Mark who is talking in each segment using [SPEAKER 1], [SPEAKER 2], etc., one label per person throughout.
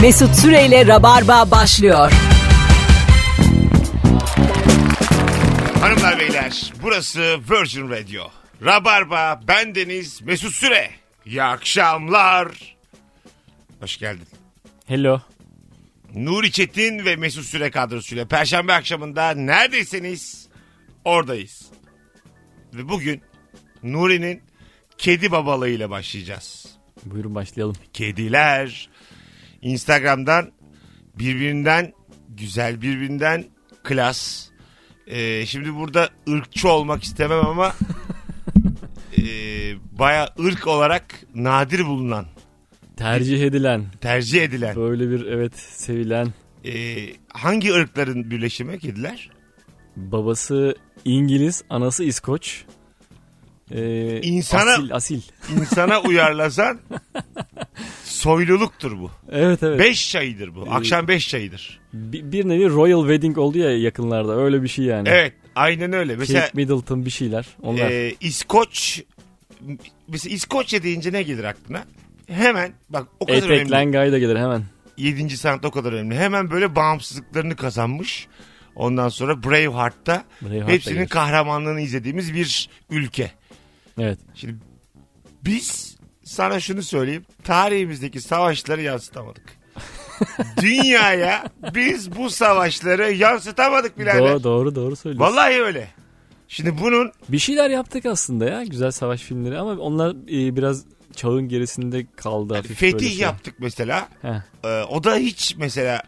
[SPEAKER 1] Mesut Süreyle Rabarba başlıyor.
[SPEAKER 2] Hanımlar beyler burası Virgin Radio. Rabarba bendeniz Mesut Süre. İyi akşamlar. Hoş geldin.
[SPEAKER 3] Hello.
[SPEAKER 2] Nuri Çetin ve Mesut Süre kadrosuyla Perşembe akşamında neredeyseniz oradayız. Ve bugün Nuri'nin kedi babalığıyla başlayacağız.
[SPEAKER 3] Buyurun başlayalım.
[SPEAKER 2] Kediler Instagram'dan birbirinden güzel birbirinden klas. Ee, şimdi burada ırkçı olmak istemem ama e, baya ırk olarak nadir bulunan,
[SPEAKER 3] Tercih edilen,
[SPEAKER 2] tercih edilen.
[SPEAKER 3] böyle bir evet sevilen
[SPEAKER 2] Ee, hangi ırkların birleşimi kediler?
[SPEAKER 3] babası İngiliz, anası İskoç. Ee,
[SPEAKER 2] İnsana-
[SPEAKER 3] asil, asil.
[SPEAKER 2] İnsana uyarlasan soyluluktur bu.
[SPEAKER 3] Evet evet.
[SPEAKER 2] Beş çayıdır bu. Akşam beş çayıdır.
[SPEAKER 3] Bi- bir nevi royal wedding oldu ya yakınlarda. Öyle bir şey yani.
[SPEAKER 2] Evet aynen öyle.
[SPEAKER 3] Kate
[SPEAKER 2] Mesela
[SPEAKER 3] Middleton bir şeyler. Onlar.
[SPEAKER 2] Ee, İskoç mesela İskoçya deyince ne gelir aklına? Hemen bak o kadar
[SPEAKER 3] Etek
[SPEAKER 2] önemli.
[SPEAKER 3] Langay da gelir hemen.
[SPEAKER 2] 7. sanat o kadar önemli. Hemen böyle bağımsızlıklarını kazanmış. Ondan sonra Braveheart'ta
[SPEAKER 3] Braveheart da
[SPEAKER 2] hepsinin
[SPEAKER 3] gelir.
[SPEAKER 2] kahramanlığını izlediğimiz bir ülke.
[SPEAKER 3] Evet.
[SPEAKER 2] Şimdi biz sana şunu söyleyeyim. Tarihimizdeki savaşları yansıtamadık. Dünyaya biz bu savaşları yansıtamadık birader.
[SPEAKER 3] Doğru, doğru doğru söylüyorsun.
[SPEAKER 2] Vallahi öyle. Şimdi bunun
[SPEAKER 3] Bir şeyler yaptık aslında ya güzel savaş filmleri ama onlar e, biraz çağın gerisinde kaldı. hafif böyle
[SPEAKER 2] fetih
[SPEAKER 3] şey.
[SPEAKER 2] yaptık mesela.
[SPEAKER 3] Heh.
[SPEAKER 2] Ee, o da hiç mesela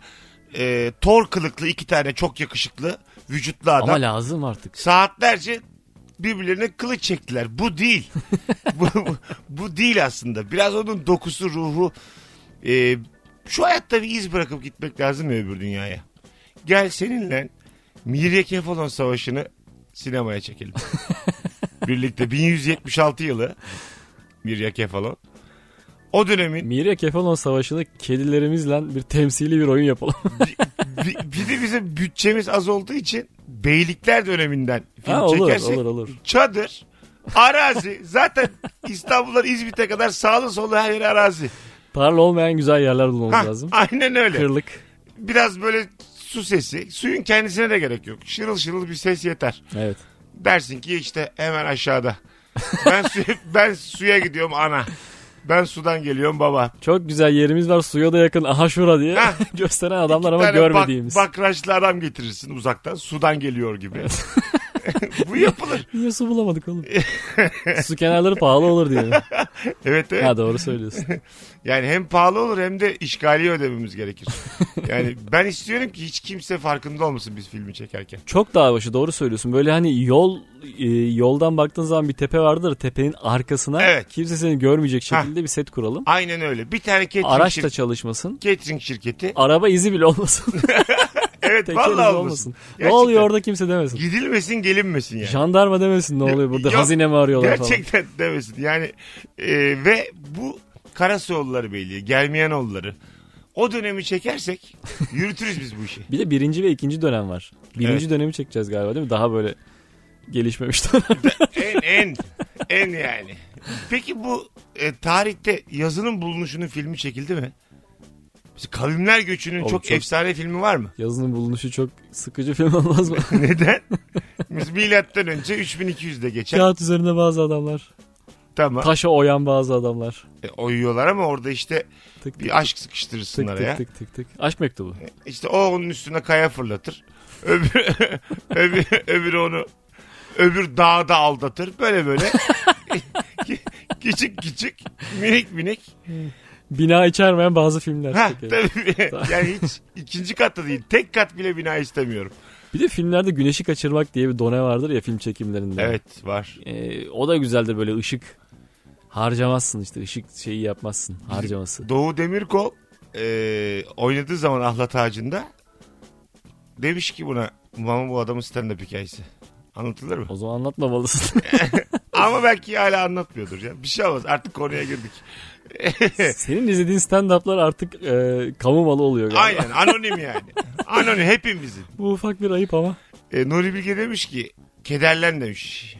[SPEAKER 2] e, tor kılıklı iki tane çok yakışıklı vücutlu adam
[SPEAKER 3] Ama lazım artık.
[SPEAKER 2] saatlerce birbirlerine kılıç çektiler. Bu değil. bu, bu- bu değil aslında. Biraz onun dokusu, ruhu. Ee, şu hayatta bir iz bırakıp gitmek lazım ya öbür dünyaya. Gel seninle Mirya Kefalon Savaşı'nı sinemaya çekelim. Birlikte 1176 yılı Mirya Kefalon. O dönemin
[SPEAKER 3] Mirya Kefalon Savaşı'nda kedilerimizle bir temsili bir oyun yapalım.
[SPEAKER 2] bir, bir de bizim bütçemiz az olduğu için beylikler döneminden film
[SPEAKER 3] ha, olur,
[SPEAKER 2] çekersek
[SPEAKER 3] olur olur
[SPEAKER 2] çadır, arazi zaten İstanbul'dan İzmit'e kadar sağlı sollu her yer arazi.
[SPEAKER 3] Tarla olmayan güzel yerler bulmamız
[SPEAKER 2] Hah,
[SPEAKER 3] lazım.
[SPEAKER 2] aynen öyle.
[SPEAKER 3] Kırlık.
[SPEAKER 2] Biraz böyle su sesi. Suyun kendisine de gerek yok. Şırıl şırıl bir ses yeter.
[SPEAKER 3] Evet.
[SPEAKER 2] Dersin ki işte hemen aşağıda. Ben, su, ben suya gidiyorum ana. Ben sudan geliyorum baba.
[SPEAKER 3] Çok güzel yerimiz var suya da yakın aha şura diye
[SPEAKER 2] Hah.
[SPEAKER 3] gösteren adamlar ama
[SPEAKER 2] Bir tane
[SPEAKER 3] görmediğimiz.
[SPEAKER 2] Bak, bakraçlı adam getirirsin uzaktan. Sudan geliyor gibi. Bu yapılır.
[SPEAKER 3] Niye su bulamadık oğlum? su kenarları pahalı olur diye. mi?
[SPEAKER 2] Evet evet.
[SPEAKER 3] Ha doğru söylüyorsun.
[SPEAKER 2] Yani hem pahalı olur hem de işgali ödememiz gerekir. Yani ben istiyorum ki hiç kimse farkında olmasın biz filmi çekerken.
[SPEAKER 3] Çok dağ başı doğru söylüyorsun. Böyle hani yol e, yoldan baktığın zaman bir tepe vardır. Tepenin arkasına
[SPEAKER 2] Evet.
[SPEAKER 3] kimse seni görmeyecek şekilde bir set kuralım.
[SPEAKER 2] Aynen öyle. Bir tane catering,
[SPEAKER 3] Araç da
[SPEAKER 2] şir-
[SPEAKER 3] çalışmasın.
[SPEAKER 2] catering şirketi.
[SPEAKER 3] Araba izi bile olmasın.
[SPEAKER 2] Evet
[SPEAKER 3] Tekerimiz
[SPEAKER 2] vallahi olmasın.
[SPEAKER 3] olmasın. Ne
[SPEAKER 2] Gerçekten.
[SPEAKER 3] oluyor orada kimse demesin.
[SPEAKER 2] Gidilmesin gelinmesin yani.
[SPEAKER 3] Jandarma demesin ne oluyor burada
[SPEAKER 2] Yok,
[SPEAKER 3] hazine mi arıyorlar falan.
[SPEAKER 2] Gerçekten demesin. Yani e, ve bu Karasoğulları belli, Germiyanoğulları. O dönemi çekersek yürütürüz biz bu işi.
[SPEAKER 3] Bir de birinci ve ikinci dönem var. Birinci
[SPEAKER 2] Evet.
[SPEAKER 3] dönemi çekeceğiz galiba değil mi? Daha böyle gelişmemiş dönem.
[SPEAKER 2] En en en yani. Peki bu e, tarihte yazının bulunuşunun filmi çekildi mi? Mesela Kavimler Göçü'nün
[SPEAKER 3] Oğlum
[SPEAKER 2] çok,
[SPEAKER 3] çok-
[SPEAKER 2] efsane filmi var mı?
[SPEAKER 3] Yazının bulunuşu çok sıkıcı film olmaz mı?
[SPEAKER 2] Neden? Mesela Milattan önce 3200'de geçen.
[SPEAKER 3] Kağıt üzerinde bazı adamlar.
[SPEAKER 2] tamam.
[SPEAKER 3] Taşa oyan bazı adamlar.
[SPEAKER 2] E, oyuyorlar ama orada işte
[SPEAKER 3] Tık tık
[SPEAKER 2] bir aşk
[SPEAKER 3] tık
[SPEAKER 2] sıkıştırırsınlar ya.
[SPEAKER 3] tık tık tık tık. Aşk mektubu.
[SPEAKER 2] İşte o onun üstüne kaya fırlatır. Öbür, öbür, öbürü onu öbür dağda aldatır. Böyle böyle. küçük küçük minik minik
[SPEAKER 3] Bina içermeyen bazı filmler.
[SPEAKER 2] Ha
[SPEAKER 3] Peki.
[SPEAKER 2] tabii. yani hiç ikinci katta değil. Tek kat bile bina istemiyorum.
[SPEAKER 3] Bir de filmlerde güneşi kaçırmak diye bir done vardır ya film çekimlerinde.
[SPEAKER 2] Evet var.
[SPEAKER 3] Ee, o da güzeldir böyle ışık. Harcamazsın işte ışık şeyi yapmazsın harcaması.
[SPEAKER 2] Doğu Demirkol e, oynadığı zaman Ahlat Ağacı'nda demiş ki buna mama bu adamın stand-up hikayesi. Anlatılır mı?
[SPEAKER 3] O zaman anlatmamalısın.
[SPEAKER 2] Ama belki hala anlatmıyordur. Ya. Bir şey olmaz. Artık konuya girdik.
[SPEAKER 3] Senin izlediğin stand-up'lar artık e, kamu malı oluyor galiba.
[SPEAKER 2] Aynen anonim yani. Anonim hepimizin.
[SPEAKER 3] Bu ufak bir ayıp ama.
[SPEAKER 2] E, Nuri Bilge demiş ki kederlen demiş.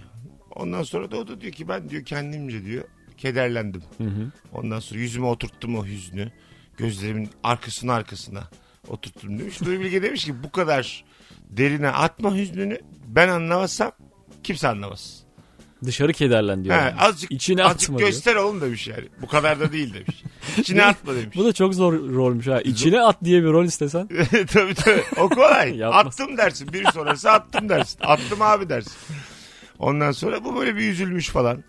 [SPEAKER 2] Ondan sonra da o da diyor ki ben diyor kendimce diyor kederlendim. Ondan sonra yüzüme oturttum o hüznü. Gözlerimin arkasına arkasına oturttum demiş. Nuri Bilge demiş ki bu kadar derine atma hüznünü ben anlamazsam kimse anlamaz.
[SPEAKER 3] Dışarı kederlen diyor.
[SPEAKER 2] He,
[SPEAKER 3] yani.
[SPEAKER 2] azıcık
[SPEAKER 3] İçine
[SPEAKER 2] azıcık
[SPEAKER 3] atma diyor.
[SPEAKER 2] göster oğlum demiş yani. Bu kadar da değil demiş. İçine atma demiş.
[SPEAKER 3] Bu da çok zor rolmüş ha. İçine at diye bir rol istesen.
[SPEAKER 2] tabii tabii. O kolay.
[SPEAKER 3] Yapmaz.
[SPEAKER 2] attım dersin. Bir sonrası attım dersin. Attım abi dersin. Ondan sonra bu böyle bir üzülmüş falan.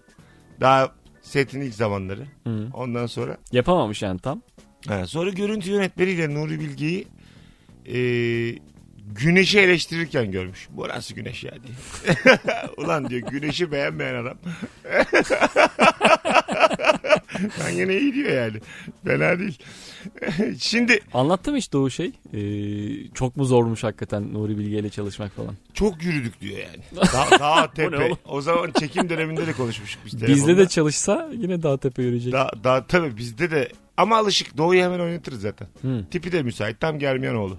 [SPEAKER 2] Daha setin ilk zamanları. Ondan sonra.
[SPEAKER 3] Yapamamış yani tam.
[SPEAKER 2] Ha, sonra görüntü yönetmeniyle Nuri Bilge'yi e, güneşi eleştirirken görmüş. Burası güneş ya diye. Ulan diyor güneşi beğenmeyen adam. ben yine iyi diyor yani. Fena değil. Şimdi
[SPEAKER 3] Anlattı mı hiç Doğu şey? Ee, çok mu zormuş hakikaten Nuri Bilge ile çalışmak falan?
[SPEAKER 2] çok yürüdük diyor yani. Da, dağ
[SPEAKER 3] ne
[SPEAKER 2] tepe.
[SPEAKER 3] oğlum?
[SPEAKER 2] o zaman çekim döneminde de konuşmuştuk biz
[SPEAKER 3] Bizde
[SPEAKER 2] telefonda.
[SPEAKER 3] de çalışsa yine dağ tepe yürüyecek.
[SPEAKER 2] Da, da, tabii bizde de ama alışık Doğu'yu hemen oynatırız zaten.
[SPEAKER 3] Hı.
[SPEAKER 2] Tipi de müsait. Tam Germiyanoğlu.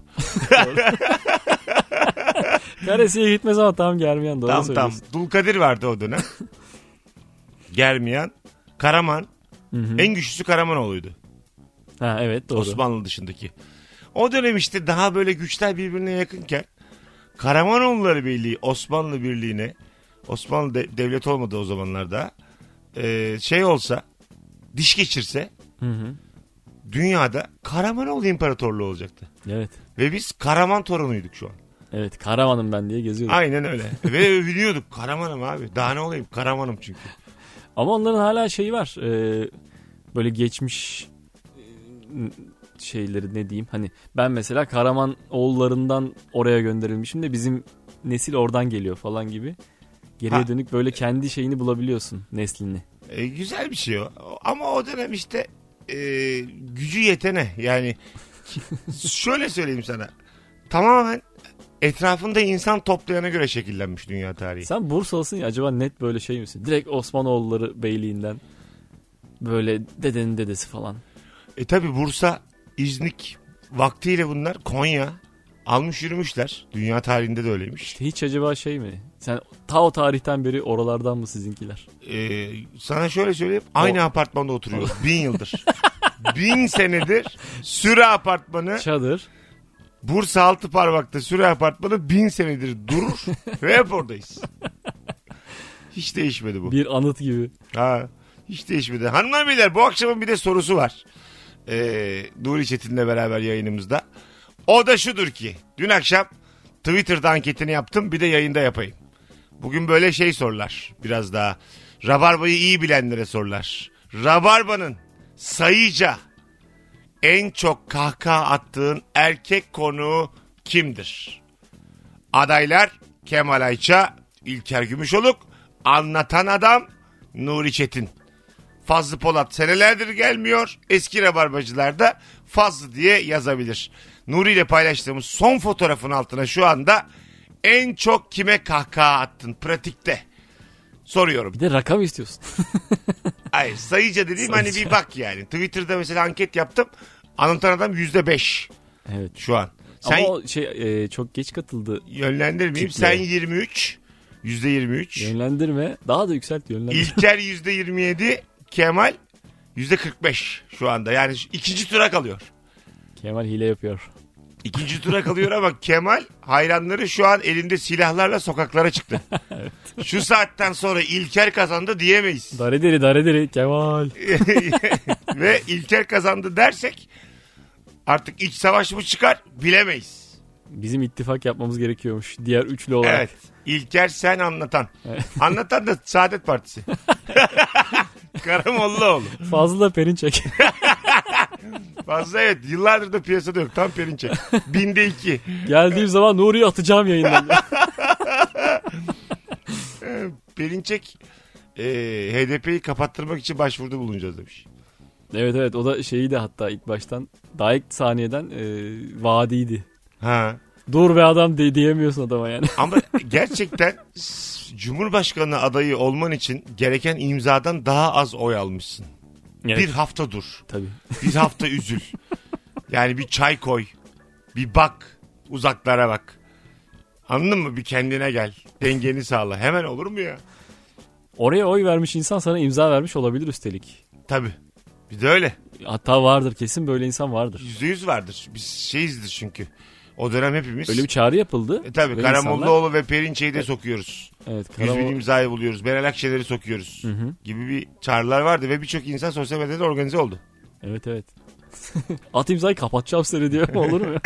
[SPEAKER 3] Karesiye gitmez ama tam gelmeyen doğru
[SPEAKER 2] Tam tam.
[SPEAKER 3] söylüyorsun.
[SPEAKER 2] Dulkadir vardı o dönem. Germiyan, Karaman. En güçlüsü Karamanoğlu'ydu.
[SPEAKER 3] Ha evet doğru.
[SPEAKER 2] Osmanlı dışındaki. O dönem işte daha böyle güçler birbirine yakınken Karamanoğulları Birliği Osmanlı Birliği'ne Osmanlı de- devlet olmadı o zamanlarda e, şey olsa diş geçirse
[SPEAKER 3] Hı hı.
[SPEAKER 2] dünyada Karamanoğlu İmparatorluğu olacaktı.
[SPEAKER 3] Evet.
[SPEAKER 2] Ve biz Karaman torunuyduk şu an.
[SPEAKER 3] Evet karavanım ben diye geziyorum.
[SPEAKER 2] Aynen öyle. Ve övünüyorduk. Karamanım abi. Daha ne olayım? Karamanım çünkü.
[SPEAKER 3] Ama onların hala şeyi var. Ee, böyle geçmiş e, n- şeyleri ne diyeyim. Hani ben mesela Karaman oğullarından oraya gönderilmişim de bizim nesil oradan geliyor falan gibi. Geriye
[SPEAKER 2] Ha.
[SPEAKER 3] dönük böyle kendi şeyini bulabiliyorsun neslini.
[SPEAKER 2] E, güzel bir şey o. Ama o dönem işte e, gücü yetene yani şöyle söyleyeyim sana. Tamamen etrafında insan toplayana göre şekillenmiş dünya tarihi.
[SPEAKER 3] Sen Bursalısın ya acaba net böyle şey misin? Direkt Osmanoğulları beyliğinden böyle dedenin dedesi falan.
[SPEAKER 2] E tabi Bursa, İznik vaktiyle bunlar Konya almış yürümüşler. Dünya tarihinde de öyleymiş.
[SPEAKER 3] Hiç acaba şey mi? Sen ta o tarihten beri oralardan mı sizinkiler?
[SPEAKER 2] E, sana şöyle söyleyeyim. Aynı apartmanda oturuyoruz. Bin yıldır. bin senedir Süre Apartmanı
[SPEAKER 3] Çadır.
[SPEAKER 2] Bursa altı parmakta süre apartmanı bin senedir durur ve hep oradayız. Hiç değişmedi bu.
[SPEAKER 3] Bir anıt gibi.
[SPEAKER 2] Ha, hiç değişmedi. Hanımlar beyler bu akşamın bir de sorusu var. Ee, Nuri Çetin'le beraber yayınımızda. O da şudur ki dün akşam Twitter'da anketini yaptım bir de yayında yapayım. Bugün böyle şey sorular biraz daha. Rabarba'yı iyi bilenlere sorular. Rabarba'nın sayıca en çok kahkaha attığın erkek konuğu kimdir? Adaylar Kemal Ayça, İlker Gümüşoluk, Anlatan Adam, Nuri Çetin. Fazlı Polat senelerdir gelmiyor. Eski rabarbacılar da Fazlı diye yazabilir. Nuri ile paylaştığımız son fotoğrafın altına şu anda en çok kime kahkaha attın pratikte? Soruyorum.
[SPEAKER 3] Bir de rakam istiyorsun.
[SPEAKER 2] Hayır sayıca dediğim hani
[SPEAKER 3] Sayıca.
[SPEAKER 2] bir bak yani. Twitter'da mesela anket yaptım. Anlatan adam yüzde beş
[SPEAKER 3] evet.
[SPEAKER 2] şu an. Sen
[SPEAKER 3] Ama o şey e, çok geç katıldı.
[SPEAKER 2] yönlendirmeyeyim.
[SPEAKER 3] Kitle.
[SPEAKER 2] Sen 23. Yüzde 23.
[SPEAKER 3] Yönlendirme. Daha da yükselt yönlendirme.
[SPEAKER 2] İlker yüzde 27. Kemal yüzde 45 şu anda. Yani şu- ikinci tura kalıyor.
[SPEAKER 3] Kemal hile yapıyor.
[SPEAKER 2] İkinci tura kalıyor ama Kemal hayranları şu an elinde silahlarla sokaklara çıktı. Şu saatten sonra İlker kazandı diyemeyiz.
[SPEAKER 3] Dare deri dare deri Kemal.
[SPEAKER 2] Ve İlker kazandı dersek artık iç savaş mı çıkar bilemeyiz.
[SPEAKER 3] Bizim ittifak yapmamız gerekiyormuş. Diğer üçlü olarak.
[SPEAKER 2] Evet. İlker sen anlatan. Anlatan da Saadet Partisi. Karamollaoğlu.
[SPEAKER 3] Fazla Perinçek.
[SPEAKER 2] Fazla evet. Yıllardır da piyasada yok. Tam Perinçek. Binde iki.
[SPEAKER 3] Geldiğim zaman Nuri'yi atacağım yayından.
[SPEAKER 2] Perinçek e, HDP'yi kapattırmak için başvuruda bulunacağız demiş.
[SPEAKER 3] evet evet o da şeyi de hatta ilk baştan. Daha ilk saniyeden e, vaadiydi.
[SPEAKER 2] Ha.
[SPEAKER 3] Dur be adam de, diyemiyorsun adama yani.
[SPEAKER 2] Ama gerçekten s- Cumhurbaşkanı adayı olman için gereken imzadan daha az oy almışsın. Bir hafta dur.
[SPEAKER 3] Tabii.
[SPEAKER 2] Bir hafta üzül. Yani bir çay koy. Bir bak. Uzaklara bak. Anladın mı? Bir kendine gel. Dengeni sağla. Hemen olur mu ya?
[SPEAKER 3] Oraya oy vermiş insan sana imza vermiş olabilir üstelik.
[SPEAKER 2] Tabii. Bir de öyle.
[SPEAKER 3] hatta vardır kesin böyle insan vardır.
[SPEAKER 2] Yüzde yüz vardır. Biz şeyizdir çünkü. O dönem hepimiz.
[SPEAKER 3] Öyle bir çağrı yapıldı.
[SPEAKER 2] E tabii
[SPEAKER 3] Ve
[SPEAKER 2] Karamollaoğlu ve Perinçe'yi de sokuyoruz.
[SPEAKER 3] insanlar- Evet,
[SPEAKER 2] Yüz bin
[SPEAKER 3] Karamol-
[SPEAKER 2] imzayı buluyoruz. Meral Akşener'i sokuyoruz. Gibi bir çağrılar vardı ve birçok insan sosyal medyada organize oldu.
[SPEAKER 3] Evet evet. At imzayı kapatacağım seni diyor. Olur mu?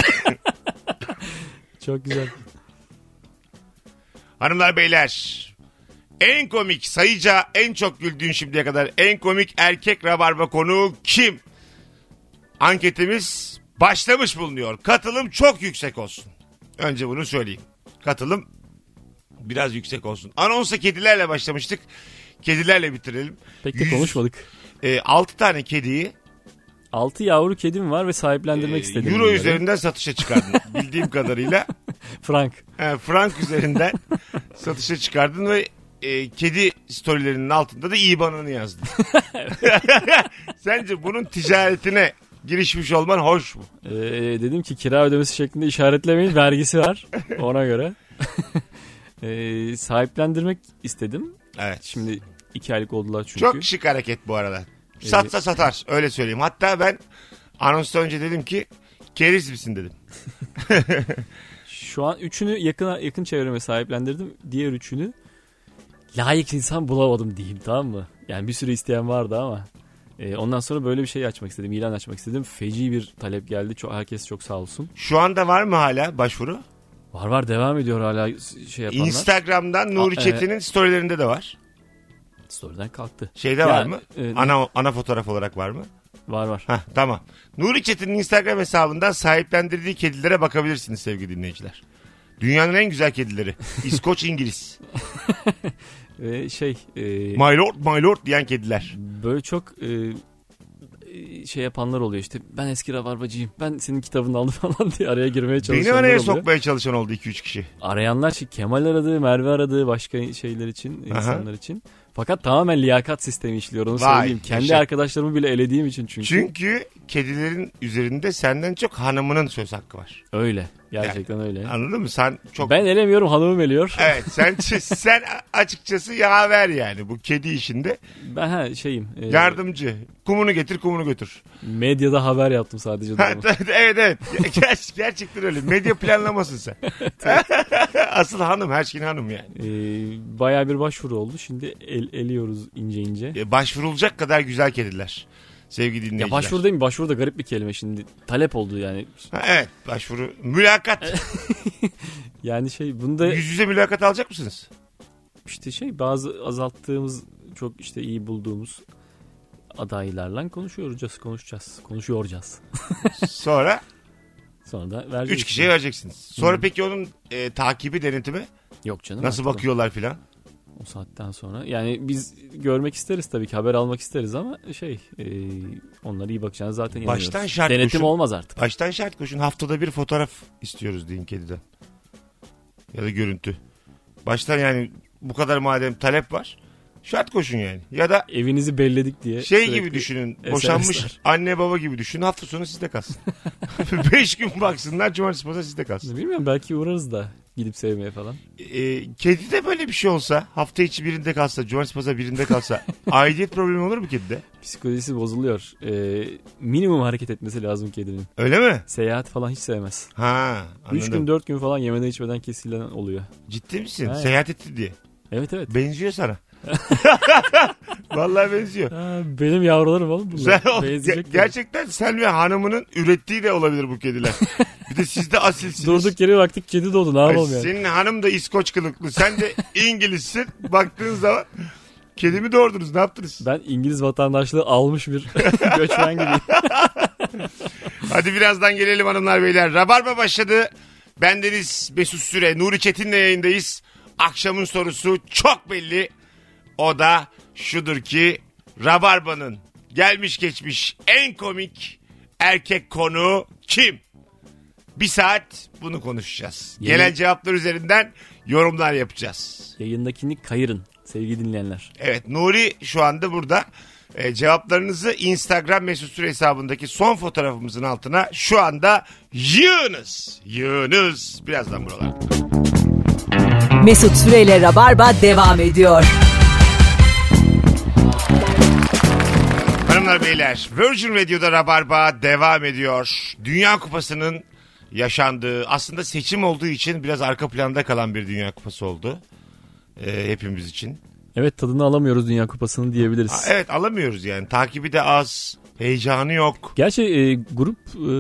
[SPEAKER 3] Çok güzel.
[SPEAKER 2] Hanımlar beyler en komik sayıca en çok güldüğün şimdiye kadar en komik erkek rabarba konuğu kim? Anketimiz başlamış bulunuyor. Katılım çok yüksek olsun. Önce bunu söyleyeyim. Katılım biraz yüksek olsun. Anonsa kedilerle başlamıştık. Kedilerle bitirelim.
[SPEAKER 3] Pek de
[SPEAKER 2] Yüz-
[SPEAKER 3] konuşmadık.
[SPEAKER 2] E, 6 tane kediyi
[SPEAKER 3] 6 yavru kedim var ve sahiplendirmek
[SPEAKER 2] e,
[SPEAKER 3] istedim.
[SPEAKER 2] euro
[SPEAKER 3] bunları.
[SPEAKER 2] üzerinden satışa çıkardın. Bildiğim kadarıyla
[SPEAKER 3] Frank.
[SPEAKER 2] He, frank üzerinden satışa çıkardın ve e, kedi storylerinin altında da IBAN'ını yazdın. Sence bunun ticaretine girişmiş olman hoş mu?
[SPEAKER 3] Ee, dedim ki kira ödemesi şeklinde işaretlemeyin. Vergisi var. Ona göre. Ee, sahiplendirmek istedim.
[SPEAKER 2] Evet.
[SPEAKER 3] Şimdi 2 aylık oldular çünkü.
[SPEAKER 2] Çok şık hareket bu arada. Satsa satar öyle söyleyeyim. Hatta ben anonsdan önce dedim ki keriz misin dedim.
[SPEAKER 3] Şu an üçünü yakın yakın çevreme sahiplendirdim. Diğer üçünü layık insan bulamadım diyeyim tamam mı? Yani bir sürü isteyen vardı ama. Ee, ondan sonra böyle bir şey açmak istedim. ilan açmak istedim. Feci bir talep geldi. Çok, herkes çok sağ olsun.
[SPEAKER 2] Şu anda var mı hala başvuru?
[SPEAKER 3] Var var devam ediyor hala s- şey yapanlar.
[SPEAKER 2] Instagram'dan Nuri
[SPEAKER 3] Aa, evet.
[SPEAKER 2] Çetin'in storylerinde de var.
[SPEAKER 3] Story'den kalktı.
[SPEAKER 2] Şeyde
[SPEAKER 3] Ya,
[SPEAKER 2] var mı?
[SPEAKER 3] e,
[SPEAKER 2] ana ana fotoğraf olarak var mı?
[SPEAKER 3] Var var.
[SPEAKER 2] Hah tamam. Nuri Çetin'in Instagram hesabından sahiplendirdiği kedilere bakabilirsiniz sevgili dinleyiciler. Dünyanın en güzel kedileri. İskoç İngiliz.
[SPEAKER 3] Ve şey e,
[SPEAKER 2] My lord, my lord diyen kediler.
[SPEAKER 3] böyle çok e, e, şey yapanlar oluyor işte ben eski rabarbacıyım ben senin kitabını aldım falan diye araya girmeye
[SPEAKER 2] Beni
[SPEAKER 3] çalışanlar
[SPEAKER 2] araya
[SPEAKER 3] oluyor.
[SPEAKER 2] sokmaya çalışan oldu 2-3 kişi.
[SPEAKER 3] arayanlar şey Kemal aradı, Merve aradı başka şeyler için,
[SPEAKER 2] Aha.
[SPEAKER 3] insanlar için. Fakat tamamen liyakat sistemi işliyor onu
[SPEAKER 2] Vay,
[SPEAKER 3] söyleyeyim. Kendi
[SPEAKER 2] yaşa.
[SPEAKER 3] arkadaşlarımı bile elediğim için çünkü.
[SPEAKER 2] Çünkü kedilerin üzerinde senden çok hanımının söz hakkı var.
[SPEAKER 3] Öyle. Gerçekten öyle.
[SPEAKER 2] Anladın mı? Sen çok...
[SPEAKER 3] Ben elemiyorum hanımım eliyor.
[SPEAKER 2] Evet sen, sen açıkçası yaver yani bu kedi işinde.
[SPEAKER 3] Ben ha, şeyim. e,
[SPEAKER 2] Yardımcı. Kumunu getir kumunu götür.
[SPEAKER 3] medyada haber yaptım sadece.
[SPEAKER 2] Ha,
[SPEAKER 3] durumu.
[SPEAKER 2] evet evet. Ger- gerçekten öyle. Medya planlamasın sen. Asıl hanım her şeyin hanım yani.
[SPEAKER 3] e, Baya bir başvuru oldu. Şimdi el, eliyoruz ince ince.
[SPEAKER 2] E, başvurulacak kadar güzel kediler. Sevgili dinleyiciler.
[SPEAKER 3] Ya başvuru değil mi? Başvuru da garip bir kelime şimdi. Talep oldu yani.
[SPEAKER 2] Ha, evet başvuru. Mülakat.
[SPEAKER 3] Yani şey bunda
[SPEAKER 2] Yüz yüze mülakat alacak mısınız?
[SPEAKER 3] işte şey bazı azalttığımız çok işte iyi bulduğumuz adaylarla konuşuyoruz, konuşacağız, konuşuyoracağız.
[SPEAKER 2] Sonra
[SPEAKER 3] Sonra da vereceğiz.
[SPEAKER 2] üç kişiye vereceksiniz. Sonra peki onun e, takibi denetimi
[SPEAKER 3] Yok canım.
[SPEAKER 2] nasıl
[SPEAKER 3] artık
[SPEAKER 2] bakıyorlar filan?
[SPEAKER 3] O, o saatten sonra. Yani biz görmek isteriz tabii ki haber almak isteriz ama şey e, onlara iyi bakacağını zaten inanıyoruz.
[SPEAKER 2] Baştan şart
[SPEAKER 3] Denetim
[SPEAKER 2] koşun.
[SPEAKER 3] olmaz artık.
[SPEAKER 2] Baştan şart koşun haftada bir fotoğraf istiyoruz deyin kediden. Ya da görüntü. Baştan yani bu kadar madem talep var şart koşun yani. Ya da
[SPEAKER 3] Evinizi belledik diye.
[SPEAKER 2] Şey
[SPEAKER 3] E, sürekli-
[SPEAKER 2] gibi düşünün.
[SPEAKER 3] SMS'ler.
[SPEAKER 2] Boşanmış anne baba gibi düşünün. Hafta sonu sizde kalsın. Beş gün baksınlar. Cumartesi pazar sizde kalsın.
[SPEAKER 3] Bilmiyorum belki uğrarız da gidip sevmeye falan.
[SPEAKER 2] Ee, kedi de böyle bir şey olsa. Hafta içi birinde kalsa. Cumartesi pazar birinde kalsa. aidiyet problemi olur mu kedide?
[SPEAKER 3] Psikolojisi bozuluyor. E, minimum hareket etmesi lazım kedinin.
[SPEAKER 2] Öyle mi?
[SPEAKER 3] Seyahat falan hiç sevmez.
[SPEAKER 2] Ha anladım.
[SPEAKER 3] 3 gün 4 gün falan yemeden içmeden kesilen oluyor.
[SPEAKER 2] Ciddi misin?
[SPEAKER 3] Evet.
[SPEAKER 2] Seyahat etti diye.
[SPEAKER 3] Evet evet.
[SPEAKER 2] Benziyor sana. Vallahi benziyor.
[SPEAKER 3] Ha, benim yavrularım
[SPEAKER 2] Sen,
[SPEAKER 3] oğlum bunlar.
[SPEAKER 2] Ge-
[SPEAKER 3] Benzeyecek tabii.
[SPEAKER 2] gerçekten sen ve hanımının ürettiği de olabilir bu kediler. Bir de siz de asilsiniz.
[SPEAKER 3] Durduk yere baktık kedi doğdu ne yapalım yani.
[SPEAKER 2] E, Senin hanım da İskoç kılıklı. Sen de İngilizsin. Baktığın zaman kedimi doğurdunuz. Ne yaptınız?
[SPEAKER 3] Ben İngiliz vatandaşlığı almış bir göçmen gibiyim.
[SPEAKER 2] Hadi birazdan gelelim hanımlar beyler. Rabarba başladı. Bendeniz Mesut Süre, Nuri Çetin'le yayındayız. Akşamın sorusu çok belli. O da şudur ki Rabarba'nın gelmiş geçmiş en komik erkek konu kim? Bir saat bunu konuşacağız.
[SPEAKER 3] Yeni-
[SPEAKER 2] Gelen cevaplar üzerinden yorumlar yapacağız.
[SPEAKER 3] Yayındakini kayırın sevgili dinleyenler.
[SPEAKER 2] Evet Nuri şu anda burada. E, cevaplarınızı Instagram mesut süre hesabındaki son fotoğrafımızın altına şu anda yığınız. Yığınız. Birazdan buralarda.
[SPEAKER 1] Mesut Süreyle Rabarba devam ediyor.
[SPEAKER 2] Hanımlar Hanımlar beyler Virgin Radio'da Rabarba devam ediyor. Dünya Kupası'nın yaşandığı aslında seçim olduğu için biraz arka planda kalan bir Dünya Kupası oldu. Ee, hepimiz için.
[SPEAKER 3] Evet tadını alamıyoruz Dünya Kupası'nı diyebiliriz.
[SPEAKER 2] Aa, Evet alamıyoruz yani takibi de az heyecanı yok.
[SPEAKER 3] Gerçi e, grup e,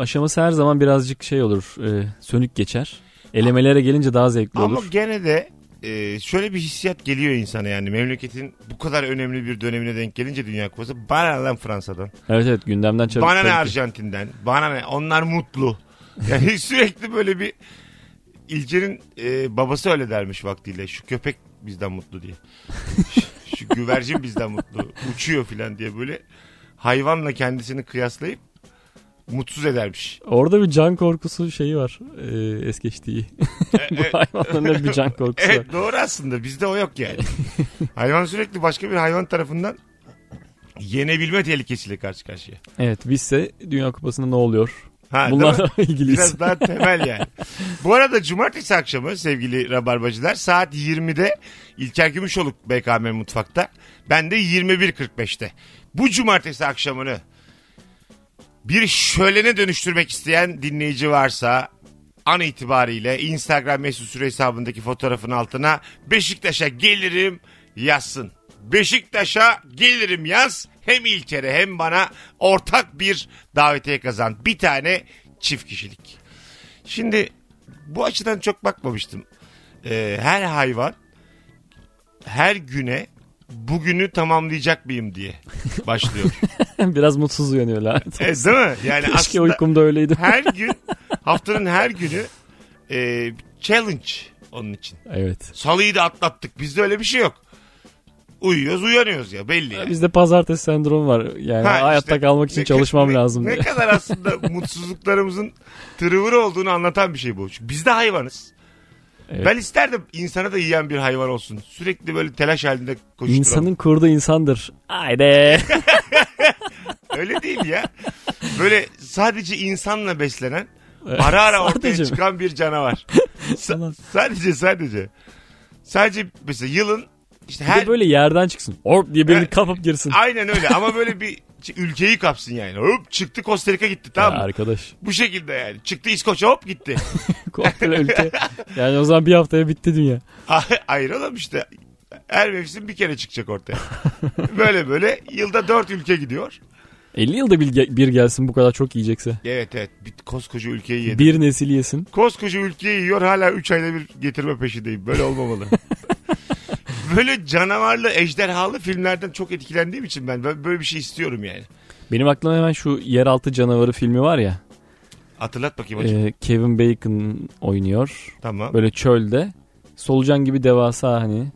[SPEAKER 3] aşaması her zaman birazcık şey olur e, sönük geçer. Elemelere gelince daha zevkli
[SPEAKER 2] Ama
[SPEAKER 3] olur.
[SPEAKER 2] gene de e, şöyle bir hissiyat geliyor insana yani memleketin bu kadar önemli bir dönemine denk gelince Dünya Kupası bana ne lan Fransa'dan
[SPEAKER 3] Evet evet gündemden çabuk.
[SPEAKER 2] bana ne
[SPEAKER 3] tabii ki.
[SPEAKER 2] Arjantin'den bana ne onlar mutlu yani sürekli böyle bir İlker'in e, babası öyle dermiş vaktiyle şu köpek bizden mutlu diye şu, şu güvercin bizden mutlu uçuyor filan diye böyle hayvanla kendisini kıyaslayıp mutsuz edermiş.
[SPEAKER 3] Orada bir can korkusu şeyi var. E, es geçtiği.
[SPEAKER 2] E,
[SPEAKER 3] Bu hayvanların hep bir can korkusu var.
[SPEAKER 2] Evet doğru aslında bizde o yok yani. hayvan sürekli başka bir hayvan tarafından yenebilme tehlikesiyle karşı karşıya.
[SPEAKER 3] Evet bizse Dünya Kupası'nda ne oluyor?
[SPEAKER 2] Ha, değil mi?
[SPEAKER 3] Bunlarla ilgiliyiz.
[SPEAKER 2] Biraz daha temel yani. Bu arada cumartesi akşamı sevgili rabarbacılar saat 20'de İlker Gümüşoluk BKM Mutfak'ta. Ben de 21.45'te. Bu cumartesi akşamını bir şölene dönüştürmek isteyen dinleyici varsa an itibariyle Instagram mesut süre hesabındaki fotoğrafın altına Beşiktaş'a gelirim yazsın. Beşiktaş'a gelirim yaz. Hem İlker'e hem bana ortak bir davetiye kazan. Bir tane çift kişilik. Şimdi bu açıdan çok bakmamıştım. Ee, her hayvan her güne bugünü tamamlayacak mıyım diye başlıyor.
[SPEAKER 3] Biraz mutsuz uyanıyor lanet.
[SPEAKER 2] E, değil mi? Yani
[SPEAKER 3] Keşke
[SPEAKER 2] aslında
[SPEAKER 3] uykumda öyleydi.
[SPEAKER 2] her gün haftanın her günü e, challenge onun için.
[SPEAKER 3] Evet.
[SPEAKER 2] Salıyı da atlattık. Bizde öyle bir şey yok. Uyuyoruz uyanıyoruz ya belli. yani.
[SPEAKER 3] Bizde pazartesi sendromu var. Yani
[SPEAKER 2] Ha,
[SPEAKER 3] hayatta
[SPEAKER 2] işte
[SPEAKER 3] kalmak için
[SPEAKER 2] ne-
[SPEAKER 3] çalışmam
[SPEAKER 2] ne-
[SPEAKER 3] lazım
[SPEAKER 2] Ne
[SPEAKER 3] diye.
[SPEAKER 2] kadar aslında mutsuzluklarımızın tırıvır olduğunu anlatan bir şey bu. Çünkü biz de hayvanız.
[SPEAKER 3] Evet.
[SPEAKER 2] Ben isterdim insana da yiyen bir hayvan olsun. Sürekli böyle telaş halinde koşturan.
[SPEAKER 3] İnsanın kurdu insandır. Haydi.
[SPEAKER 2] Öyle değil ya. Böyle sadece insanla beslenen ara ara ortaya
[SPEAKER 3] Sadece mi?
[SPEAKER 2] çıkan bir canavar. Sa-
[SPEAKER 3] Ulan.
[SPEAKER 2] sadece sadece. Sadece mesela yılın işte
[SPEAKER 3] Bir
[SPEAKER 2] her
[SPEAKER 3] de böyle yerden çıksın. Orp diye birini
[SPEAKER 2] Evet.
[SPEAKER 3] kapıp girsin.
[SPEAKER 2] aynen öyle ama böyle bir ülkeyi kapsın yani. Hop çıktı Costa Rica gitti tamam
[SPEAKER 3] Ya
[SPEAKER 2] mı?
[SPEAKER 3] arkadaş.
[SPEAKER 2] Bu şekilde yani. Çıktı İskoçya hop gitti.
[SPEAKER 3] Komple ülke. Yani o zaman bir haftaya bitti dünya.
[SPEAKER 2] Hayır oğlum işte. Her mevsim bir kere çıkacak ortaya. böyle böyle yılda dört ülke gidiyor.
[SPEAKER 3] 50 yılda bir, ge- bir gelsin bu kadar çok yiyecekse.
[SPEAKER 2] Evet evet. Bir koskoca ülkeyi yedi.
[SPEAKER 3] Bir nesil yesin.
[SPEAKER 2] koskoca ülkeyi yiyor hala 3 ayda bir getirme peşindeyim. Böyle olmamalı. böyle canavarlı, ejderhalı filmlerden çok etkilendiğim için ben ben böyle bir şey istiyorum yani.
[SPEAKER 3] Benim aklıma hemen şu Yeraltı Canavarı filmi var ya.
[SPEAKER 2] Hatırlat bakayım hocam.
[SPEAKER 3] Ee, Kevin Bacon oynuyor.
[SPEAKER 2] tamam.
[SPEAKER 3] Böyle çölde. Solucan gibi devasa hani.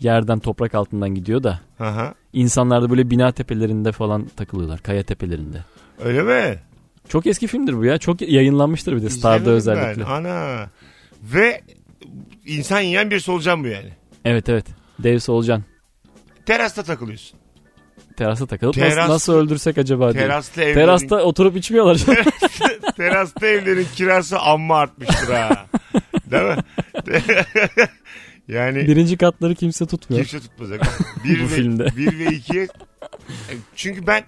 [SPEAKER 3] Yerden toprak altından gidiyor da.
[SPEAKER 2] Aha.
[SPEAKER 3] İnsanlar da böyle bina tepelerinde falan takılıyorlar. Kaya tepelerinde.
[SPEAKER 2] Öyle mi?
[SPEAKER 3] Çok eski filmdir bu ya. Çok yayınlanmıştır bir de Star'da
[SPEAKER 2] İzlemedim ben.
[SPEAKER 3] özellikle.
[SPEAKER 2] Ana. Ve insan yiyen bir solucan bu yani.
[SPEAKER 3] Evet evet. Dev solucan.
[SPEAKER 2] Terasta takılıyorsun.
[SPEAKER 3] Terasa takılıp
[SPEAKER 2] Teras-
[SPEAKER 3] nasıl, nasıl öldürsek acaba diye.
[SPEAKER 2] Teraslı evlerin,
[SPEAKER 3] Terasta oturup içmiyorlar.
[SPEAKER 2] terasta evlerin kirası amma artmıştır ha. Değil mi? yani
[SPEAKER 3] Birinci katları kimse tutmuyor.
[SPEAKER 2] Kimse tutmayacak. Bir
[SPEAKER 3] Bu
[SPEAKER 2] ve,
[SPEAKER 3] filmde.
[SPEAKER 2] Bir ve ikiye. Çünkü ben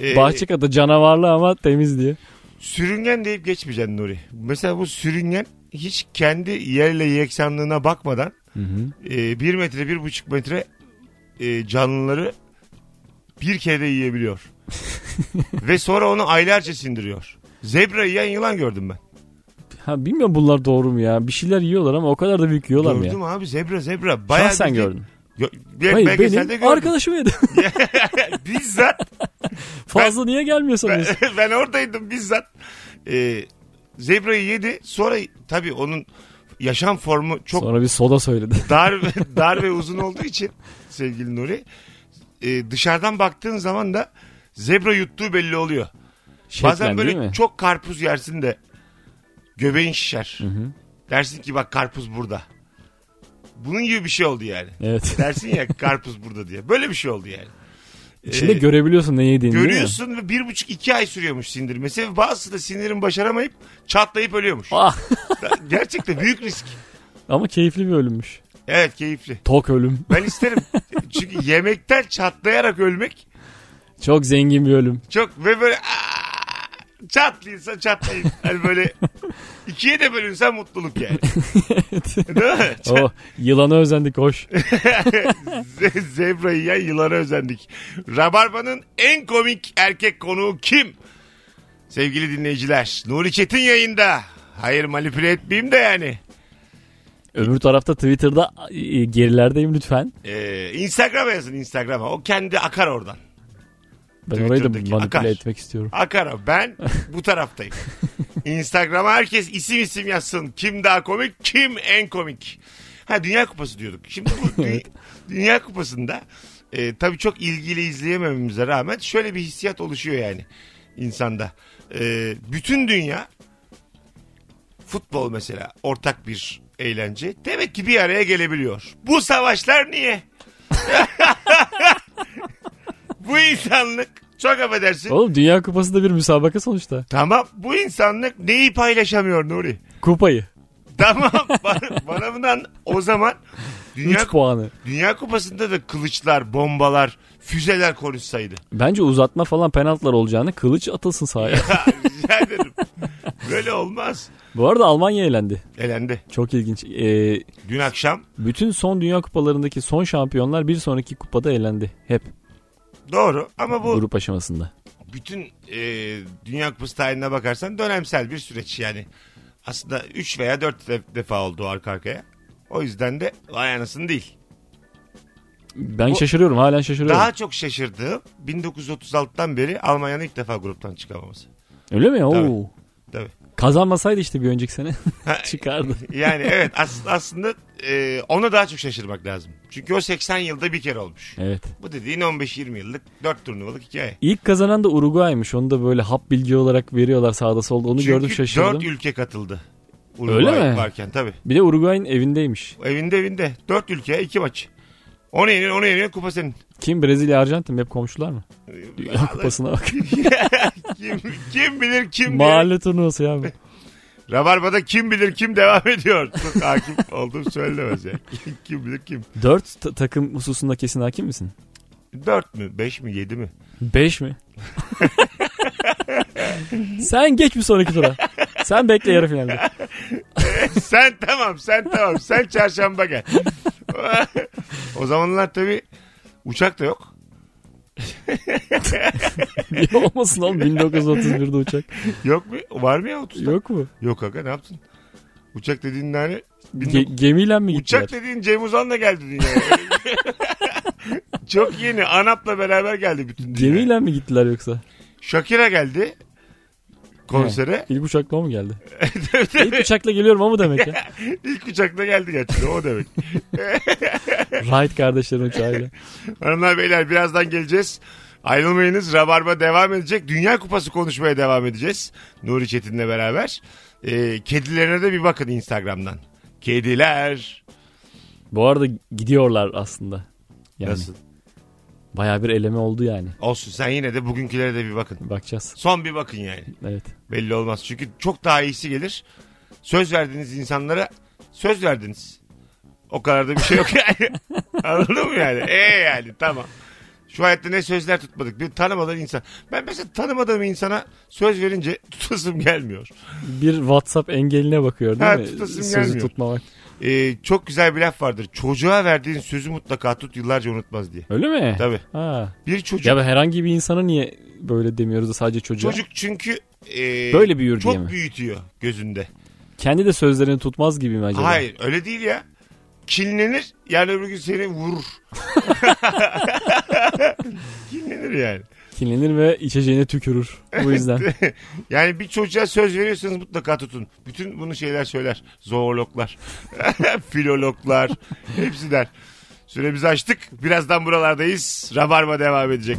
[SPEAKER 2] e,
[SPEAKER 3] Bahçekada canavarlı ama temiz diye.
[SPEAKER 2] sürüngen deyip geçmeyeceksin Nuri. Mesela bu sürüngen hiç kendi yerle yeksanlığına bakmadan e, bir metre bir buçuk metre e, canlıları bir kere de yiyebiliyor. ve sonra onu aylarca sindiriyor. Zebra yiyen yılan gördüm ben.
[SPEAKER 3] Ha bilmiyorum bunlar doğru mu ya? Bir şeyler yiyorlar ama o kadar da büyük yiyorlar mı ya?
[SPEAKER 2] gördüm abi zebra zebra.
[SPEAKER 3] Bayağı
[SPEAKER 2] Bayağı şey-
[SPEAKER 3] sen
[SPEAKER 2] bildiğin-
[SPEAKER 3] gördün.
[SPEAKER 2] Gö- bir
[SPEAKER 3] Hayır
[SPEAKER 2] belgeselde
[SPEAKER 3] benim
[SPEAKER 2] gördüm.
[SPEAKER 3] arkadaşım yedi.
[SPEAKER 2] Bizzat
[SPEAKER 3] Fazla niye gelmiyor sanıyorsun?
[SPEAKER 2] ben, ben oradaydım bizzat. Ee, zebra'yı yedi. Sonra tabii onun yaşam formu çok
[SPEAKER 3] Sonra bir soda söyledi.
[SPEAKER 2] dar ve, dar ve uzun olduğu için sevgili Nuri. e, dışarıdan baktığın zaman da zebra yuttuğu belli oluyor.
[SPEAKER 3] Şeklen
[SPEAKER 2] Bazen
[SPEAKER 3] değil
[SPEAKER 2] böyle
[SPEAKER 3] mi?
[SPEAKER 2] çok karpuz yersin de göbeğin şişer.
[SPEAKER 3] hı.
[SPEAKER 2] Dersin ki bak karpuz burada. Bunun gibi bir şey oldu yani.
[SPEAKER 3] Evet.
[SPEAKER 2] Dersin ya karpuz burada diye. Böyle bir şey oldu yani.
[SPEAKER 3] İçinde
[SPEAKER 2] Ee,
[SPEAKER 3] görebiliyorsun ne yediğini değil mi?
[SPEAKER 2] Görüyorsun ve bir buçuk iki ay sürüyormuş sindirmesi. Ve bazısı da sindirim başaramayıp çatlayıp ölüyormuş.
[SPEAKER 3] Ah.
[SPEAKER 2] Gerçekten büyük risk.
[SPEAKER 3] Ama keyifli bir ölümmüş.
[SPEAKER 2] Evet keyifli.
[SPEAKER 3] Tok ölüm.
[SPEAKER 2] Ben isterim. Çünkü yemekten çatlayarak ölmek
[SPEAKER 3] Çok zengin bir ölüm.
[SPEAKER 2] Çok ve böyle "Aa!" çatlayınsa çatlayın. Hani böyle ikiye de bölünsen mutluluk yani. Değil mi?
[SPEAKER 3] Oh, yılana özendik hoş.
[SPEAKER 2] Ze- Zebra'yı ya yılana özendik. Rabarba'nın en komik erkek konuğu kim? Sevgili dinleyiciler. Nuri Çetin yayında. Hayır manipüle etmeyeyim de yani.
[SPEAKER 3] Öbür tarafta Twitter'da e, gerilerdeyim lütfen.
[SPEAKER 2] Ee, Instagram'a yazın Instagram'a. O kendi akar oradan.
[SPEAKER 3] Ben orayı da
[SPEAKER 2] Twitter'daki
[SPEAKER 3] manipüle
[SPEAKER 2] akar.
[SPEAKER 3] etmek istiyorum.
[SPEAKER 2] Akar o. Ben bu taraftayım. Instagram'a herkes isim isim yazsın. Kim daha komik, kim en komik. Ha Dünya Kupası diyorduk. Şimdi bu dü- Dünya Kupası'nda e, tabii çok ilgili izleyemememize rağmen şöyle bir hissiyat oluşuyor yani insanda. E, bütün dünya futbol mesela ortak bir eğlence. Demek ki bir araya gelebiliyor. Bu savaşlar niye? bu insanlık çok affedersin.
[SPEAKER 3] Oğlum Dünya Kupası da bir müsabaka sonuçta.
[SPEAKER 2] Tamam bu insanlık neyi paylaşamıyor Nuri?
[SPEAKER 3] Kupayı.
[SPEAKER 2] Tamam bana, bana bundan o zaman
[SPEAKER 3] 3
[SPEAKER 2] Dünya,
[SPEAKER 3] puanı.
[SPEAKER 2] Dünya Kupası'nda da kılıçlar, bombalar, füzeler konuşsaydı.
[SPEAKER 3] Bence uzatma falan penaltılar olacağını kılıç atılsın sahaya.
[SPEAKER 2] Ha, Rica ederim. Böyle olmaz.
[SPEAKER 3] Bu arada Almanya elendi.
[SPEAKER 2] Elendi.
[SPEAKER 3] Çok ilginç. Ee,
[SPEAKER 2] Dün akşam
[SPEAKER 3] bütün son dünya kupalarındaki son şampiyonlar bir sonraki kupada elendi. Hep
[SPEAKER 2] doğru ama bu
[SPEAKER 3] grup aşamasında.
[SPEAKER 2] bütün e, Dünya Kupası tarihine bakarsan dönemsel bir süreç yani. Aslında 3 veya 4 defa oldu arka arkaya. O yüzden de vay anasını değil.
[SPEAKER 3] Ben
[SPEAKER 2] Bu-
[SPEAKER 3] şaşırıyorum halen şaşırıyorum.
[SPEAKER 2] Daha çok şaşırdığım 1936'dan beri Almanya'nın ilk defa gruptan çıkamaması.
[SPEAKER 3] Öyle mi?
[SPEAKER 2] Tabii.
[SPEAKER 3] Oo.
[SPEAKER 2] Tabii.
[SPEAKER 3] Kazanmasaydı işte bir önceki sene
[SPEAKER 2] Ha,
[SPEAKER 3] çıkardı.
[SPEAKER 2] Yani evet as- aslında e, ona daha çok şaşırmak lazım. Çünkü o 80 yılda bir kere olmuş.
[SPEAKER 3] Evet.
[SPEAKER 2] Bu dediğin 15-20 yıllık 4 turnuvalık hikaye.
[SPEAKER 3] İlk kazanan da Uruguay'mış. Onu da böyle hap bilgi olarak veriyorlar sağda solda. Onu gördüm
[SPEAKER 2] Çünkü
[SPEAKER 3] şaşırdım.
[SPEAKER 2] 4 ülke katıldı.
[SPEAKER 3] Öyle
[SPEAKER 2] Uruguay
[SPEAKER 3] mi?
[SPEAKER 2] varken tabii.
[SPEAKER 3] Bir de Uruguay'ın evindeymiş.
[SPEAKER 2] Evinde evinde. 4 ülke 2 maç. Onu yeniyor onu yeniyor kupa senin.
[SPEAKER 3] Kim Brezilya, Arjantin mi? hep komşular mı?
[SPEAKER 2] Vallahi
[SPEAKER 3] Dünya kupasına bak.
[SPEAKER 2] kim, kim bilir kim diye.
[SPEAKER 3] Mahalle turnuvası ya bu.
[SPEAKER 2] Rabarba'da kim bilir kim devam ediyor. Çok hakim olduğum söylemez ya. kim bilir kim.
[SPEAKER 3] Dört ta- takım hususunda kesin hakim misin?
[SPEAKER 2] 4 mü 5 mi 7 mi?
[SPEAKER 3] Beş mi? sen geç bir sonraki tura. Sen bekle yarı finalde.
[SPEAKER 2] sen tamam sen tamam sen çarşamba gel. o zamanlar tabii uçak da yok.
[SPEAKER 3] Niye olmasın oğlum 1931'de uçak.
[SPEAKER 2] Yok mu? Var mı ya 30'da? Yok.
[SPEAKER 3] Yok mu?
[SPEAKER 2] aga ne yaptın? Uçak dediğin hani
[SPEAKER 3] Ge- gemiyle mi gittiler?
[SPEAKER 2] uçak dediğin Cem Uzan'la geldi dünyaya. Çok yeni. Anap'la beraber geldi bütün dünya.
[SPEAKER 3] Gemiyle mi gittiler yoksa?
[SPEAKER 2] Shakira geldi konsere.
[SPEAKER 3] İlk uçakla o mu geldi? İlk uçakla geliyorum o mu demek ya?
[SPEAKER 2] İlk uçakla geldi gerçekten o demek.
[SPEAKER 3] Wright kardeşlerin uçağıyla.
[SPEAKER 2] Hanımlar beyler birazdan geleceğiz. Ayrılmayınız. Rabarba devam edecek. Dünya Kupası konuşmaya devam edeceğiz. Nuri Çetin'le beraber. Ee, kedilerine de bir bakın Instagram'dan. Kediler.
[SPEAKER 3] Bu arada gidiyorlar aslında. Yani
[SPEAKER 2] Nasıl?
[SPEAKER 3] Bayağı bir eleme oldu yani.
[SPEAKER 2] Olsun sen yine de bugünkülere de bir bakın.
[SPEAKER 3] Bakacağız.
[SPEAKER 2] Son bir bakın yani.
[SPEAKER 3] Evet.
[SPEAKER 2] Belli olmaz. Çünkü çok daha iyisi gelir. Söz verdiğiniz insanlara söz verdiniz. O kadar da bir şey yok yani. Anladın mı yani? E yani tamam. Şu hayatta ne sözler tutmadık. Bir tanımadan insan. Ben mesela tanımadığım insana söz verince tutasım gelmiyor.
[SPEAKER 3] Bir WhatsApp engeline bakıyor değil
[SPEAKER 2] Ha,
[SPEAKER 3] mi?
[SPEAKER 2] tutasım
[SPEAKER 3] Sözü
[SPEAKER 2] gelmiyor.
[SPEAKER 3] tutmamak.
[SPEAKER 2] Ee, çok güzel bir laf vardır. Çocuğa verdiğin sözü mutlaka tut yıllarca unutmaz diye.
[SPEAKER 3] Öyle mi?
[SPEAKER 2] Tabii.
[SPEAKER 3] Ha.
[SPEAKER 2] Bir çocuk.
[SPEAKER 3] Ya ben herhangi bir insana niye böyle demiyoruz da sadece çocuğa?
[SPEAKER 2] Çocuk çünkü e,
[SPEAKER 3] Böyle büyür diye
[SPEAKER 2] çok
[SPEAKER 3] mi?
[SPEAKER 2] büyütüyor gözünde.
[SPEAKER 3] Kendi de sözlerini tutmaz gibi mi acaba?
[SPEAKER 2] Hayır öyle değil ya. Kinlenir yani öbür gün seni vurur. Kinlenir yani.
[SPEAKER 3] Kinlenir ve içeceğine tükürür. Bu yüzden.
[SPEAKER 2] yani bir çocuğa söz veriyorsanız mutlaka tutun. Bütün bunu şeyler söyler. Zoologlar, filologlar hepsi der. Süremizi açtık. Birazdan buralardayız. Rabarba devam edecek.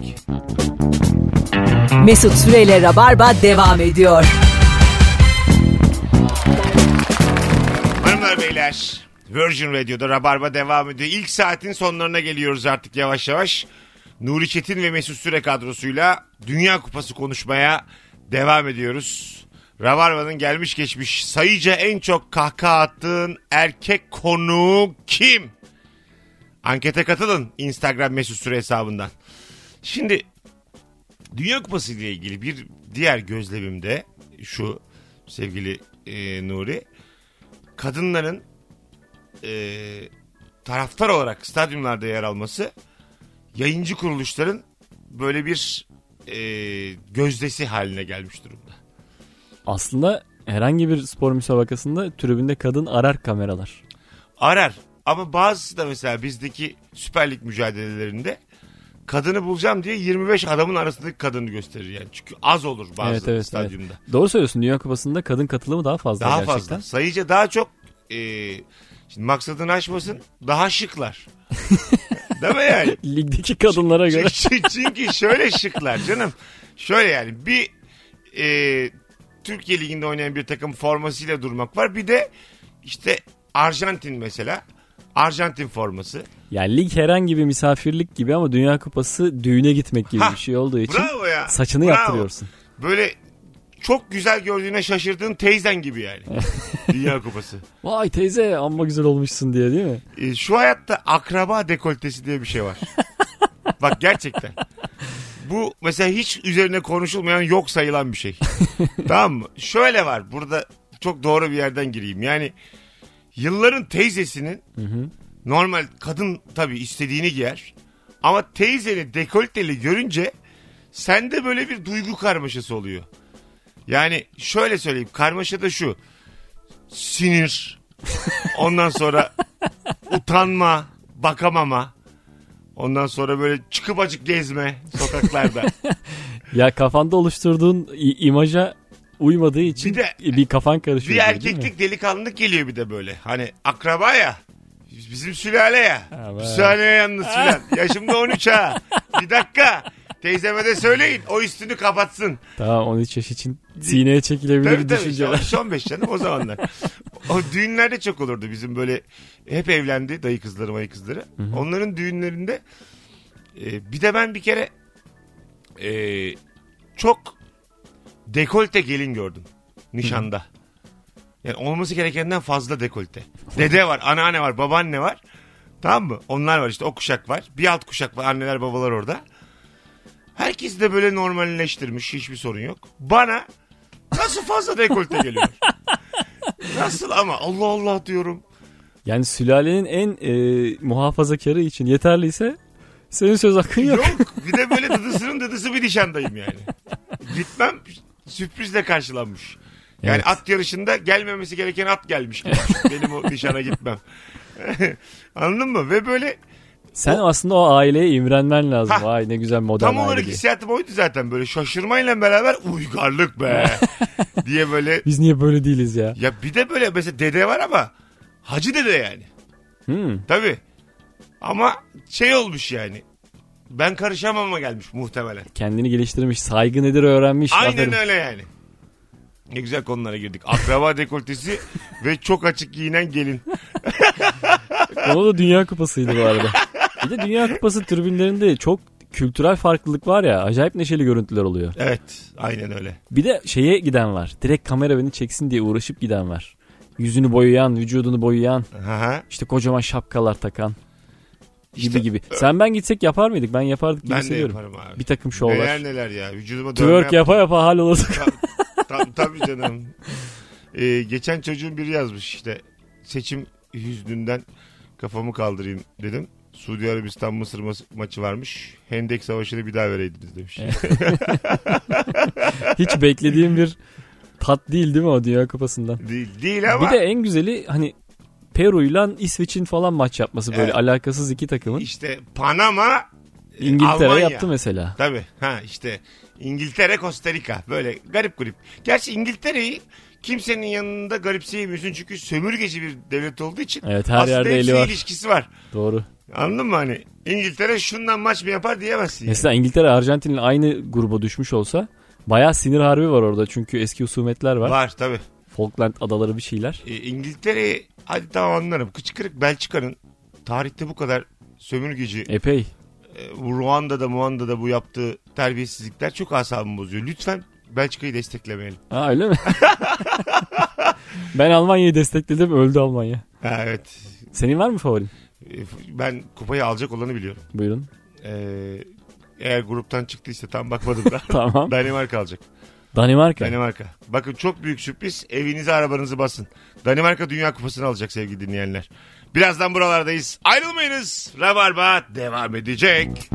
[SPEAKER 1] Mesut Süreyle Rabarba devam ediyor.
[SPEAKER 2] Hanımlar beyler Virgin Radio'da Rabarba devam ediyor. İlk saatin sonlarına geliyoruz artık yavaş yavaş. Nuri Çetin ve Mesut Süre kadrosuyla Dünya Kupası konuşmaya devam ediyoruz. Rabarba'nın gelmiş geçmiş sayıca en çok kahkaha attığın erkek konuğu kim? Ankete katılın Instagram Mesut Süre hesabından. Şimdi Dünya Kupası ile ilgili bir diğer gözlemim de şu sevgili e, Nuri. Kadınların e, taraftar olarak stadyumlarda yer alması yayıncı kuruluşların böyle bir e, gözdesi haline gelmiş durumda.
[SPEAKER 3] Aslında herhangi bir spor müsabakasında tribünde kadın arar kameralar.
[SPEAKER 2] Arar ama bazısı da mesela bizdeki Süper Lig mücadelelerinde kadını bulacağım diye 25 adamın arasındaki kadını gösterir yani. Çünkü az olur bazı
[SPEAKER 3] Evet, evet,
[SPEAKER 2] stadyumda.
[SPEAKER 3] Doğru söylüyorsun. Dünya Kupası'nda kadın katılımı daha fazla
[SPEAKER 2] Daha
[SPEAKER 3] gerçekten.
[SPEAKER 2] fazla. Sayıca daha çok e, şimdi maksadını aşmasın daha şıklar. Değil mi yani?
[SPEAKER 3] Ligdeki kadınlara göre.
[SPEAKER 2] Çünkü- Çünkü şöyle şıklar canım. Şöyle yani bir e, Türkiye Ligi'nde oynayan bir takım formasıyla durmak var. Bir de işte Arjantin mesela. Arjantin forması.
[SPEAKER 3] Yani lig herhangi bir misafirlik gibi ama Dünya Kupası düğüne gitmek gibi
[SPEAKER 2] Ha,
[SPEAKER 3] bir şey olduğu için
[SPEAKER 2] Bravo ya.
[SPEAKER 3] saçını
[SPEAKER 2] Bravo.
[SPEAKER 3] yaptırıyorsun.
[SPEAKER 2] Böyle çok güzel gördüğüne şaşırdığın teyzen gibi yani. Dünya Kupası.
[SPEAKER 3] Vay teyze amma güzel olmuşsun diye değil mi?
[SPEAKER 2] E, şu hayatta akraba dekoltesi diye bir şey var. Bak gerçekten. Bu mesela hiç üzerine konuşulmayan yok sayılan bir şey. tamam mı? Şöyle var. Burada çok doğru bir yerden gireyim. Yani yılların teyzesinin normal kadın tabii istediğini giyer. Ama teyzeni dekolteli görünce sende böyle bir duygu karmaşası oluyor. Yani şöyle söyleyeyim. Karmaşa da şu. Sinir. Ondan sonra utanma, bakamama. Ondan sonra böyle çıkıp acık gezme sokaklarda.
[SPEAKER 3] Ya kafanda oluşturduğun i- imaja uymadığı için
[SPEAKER 2] Bir
[SPEAKER 3] bir,
[SPEAKER 2] de-
[SPEAKER 3] kafan karışıyor.
[SPEAKER 2] bir
[SPEAKER 3] diyor, değil mi?
[SPEAKER 2] erkeklik delikanlılık geliyor bir de böyle. Hani akraba ya. Bizim sülale ya.
[SPEAKER 3] Ha,
[SPEAKER 2] Bir
[SPEAKER 3] vay.
[SPEAKER 2] sülale yalnız filan. Yaşım da 13 ha. Bir dakika. Teyzeme de söyleyin. O üstünü kapatsın.
[SPEAKER 3] Tamam 13 yaş için sineye çekilebilir
[SPEAKER 2] Tabii tabii.
[SPEAKER 3] düşünceler.
[SPEAKER 2] 15 canım o zamanlar. o düğünlerde çok olurdu bizim böyle. Hep evlendi dayı kızları mayı kızları. Onların düğünlerinde e, bir de ben bir kere e, çok dekolte gelin gördüm nişanda. Yani olması gerekenden fazla dekolte. Dede var, anneanne var, babaanne var. Tamam mı? Onlar var işte o kuşak var. Bir alt kuşak var anneler babalar orada. Herkes de böyle normalleştirmiş hiçbir sorun yok. Bana nasıl fazla dekolte geliyor? nasıl ama Allah Allah diyorum.
[SPEAKER 3] Yani sülalenin en e, muhafazakarı için yeterliyse senin söz hakkın yok.
[SPEAKER 2] Yok bir de böyle dadısının dadısı bir nişandayım yani. Gitmem sürprizle karşılanmış. Yani
[SPEAKER 3] Evet.
[SPEAKER 2] at yarışında gelmemesi gereken at gelmiş. gibi. Benim o nişana gitmem. Anladın mı? Ve böyle
[SPEAKER 3] Sen aslında o aileye imrenmen lazım.
[SPEAKER 2] Hah.
[SPEAKER 3] Vay ne güzel modern
[SPEAKER 2] tam
[SPEAKER 3] aile
[SPEAKER 2] olarak
[SPEAKER 3] diye.
[SPEAKER 2] hissiyatım oydu zaten. Böyle şaşırmayla beraber uygarlık be diye böyle.
[SPEAKER 3] Biz niye böyle değiliz ya?
[SPEAKER 2] Ya bir de böyle mesela dede var ama hacı dede yani.
[SPEAKER 3] Hmm.
[SPEAKER 2] Tabii. Ama şey olmuş yani. Ben karışamama gelmiş muhtemelen.
[SPEAKER 3] Kendini geliştirmiş, saygı nedir öğrenmiş.
[SPEAKER 2] Aynen
[SPEAKER 3] Aferin.
[SPEAKER 2] öyle yani. Ne güzel konulara girdik. Akraba dekoltesi ve çok açık giyinen gelin.
[SPEAKER 3] Onu da Dünya Kupası'ydı bu arada. Bir de Dünya Kupası tribünlerinde çok kültürel farklılık var ya. Acayip neşeli görüntüler oluyor.
[SPEAKER 2] Evet aynen öyle.
[SPEAKER 3] Bir de şeye giden var. Direkt kamera beni çeksin diye uğraşıp giden var. Yüzünü boyayan, vücudunu boyayan,
[SPEAKER 2] Aha.
[SPEAKER 3] işte kocaman şapkalar takan gibi
[SPEAKER 2] İşte, e,
[SPEAKER 3] gibi. Sen ben gitsek yapar mıydık? Ben yapardık gibi
[SPEAKER 2] Ben de
[SPEAKER 3] hissediyorum.
[SPEAKER 2] yaparım abi.
[SPEAKER 3] Bir takım şovlar.
[SPEAKER 2] Neler neler ya. Vücuduma dövme
[SPEAKER 3] Twerk yapa yapa hal olurduk.
[SPEAKER 2] Ta- ta- tabii canım. Ee, geçen çocuğun biri yazmış işte seçim hüznünden kafamı kaldırayım dedim. Suudi Arabistan Mısır mas- maçı varmış. Hendek Savaşı'nı bir daha vereydiniz demiş.
[SPEAKER 3] Hiç beklediğim bir tat değil değil mi o Dünya Kupası'ndan?
[SPEAKER 2] değil, değil ama
[SPEAKER 3] Bir de en güzeli hani Peru'yla İsveç'in falan maç yapması böyle
[SPEAKER 2] Evet.
[SPEAKER 3] alakasız iki takımın.
[SPEAKER 2] işte Panama e,
[SPEAKER 3] İngiltere
[SPEAKER 2] Almanya.
[SPEAKER 3] yaptı mesela.
[SPEAKER 2] Tabii. Ha işte İngiltere, Costa Rica. Böyle garip garip. Gerçi İngiltere'yi kimsenin yanında garipseyemiyorsun çünkü sömürgeci bir devlet olduğu için.
[SPEAKER 3] Evet, her
[SPEAKER 2] aslında
[SPEAKER 3] yerde eli
[SPEAKER 2] hepsi
[SPEAKER 3] var.
[SPEAKER 2] ilişkisi var.
[SPEAKER 3] Doğru.
[SPEAKER 2] Anladın mı hani? İngiltere şundan maç mı yapar diyemezsin. yani.
[SPEAKER 3] Mesela İngiltere Arjantin'le aynı gruba düşmüş olsa bayağı sinir harbi var orada çünkü eski husumetler var.
[SPEAKER 2] Var tabii.
[SPEAKER 3] Falkland adaları bir şeyler.
[SPEAKER 2] E, İngiltere'yi hadi tamam anlarım. Kıçkırık Belçika'nın tarihte bu kadar sömürgeci
[SPEAKER 3] Epey.
[SPEAKER 2] e, Ruanda'da Muanda'da bu yaptığı terbiyesizlikler çok asabımı bozuyor. Lütfen Belçika'yı desteklemeyelim.
[SPEAKER 3] Ha öyle mi? ben Almanya'yı destekledim öldü Almanya.
[SPEAKER 2] Ha, evet.
[SPEAKER 3] Senin var mı favorin?
[SPEAKER 2] E, Ben kupayı alacak olanı biliyorum.
[SPEAKER 3] Buyurun.
[SPEAKER 2] Ee, eğer gruptan çıktıysa tam bakmadım da.
[SPEAKER 3] Tamam.
[SPEAKER 2] Danimarka alacak.
[SPEAKER 3] Danimarka.
[SPEAKER 2] Danimarka. Bakın çok büyük sürpriz. Evinize arabanızı basın. Danimarka Dünya Kupası'nı alacak sevgili dinleyenler. Birazdan buralardayız. Ayrılmayınız. Rabarba devam edecek.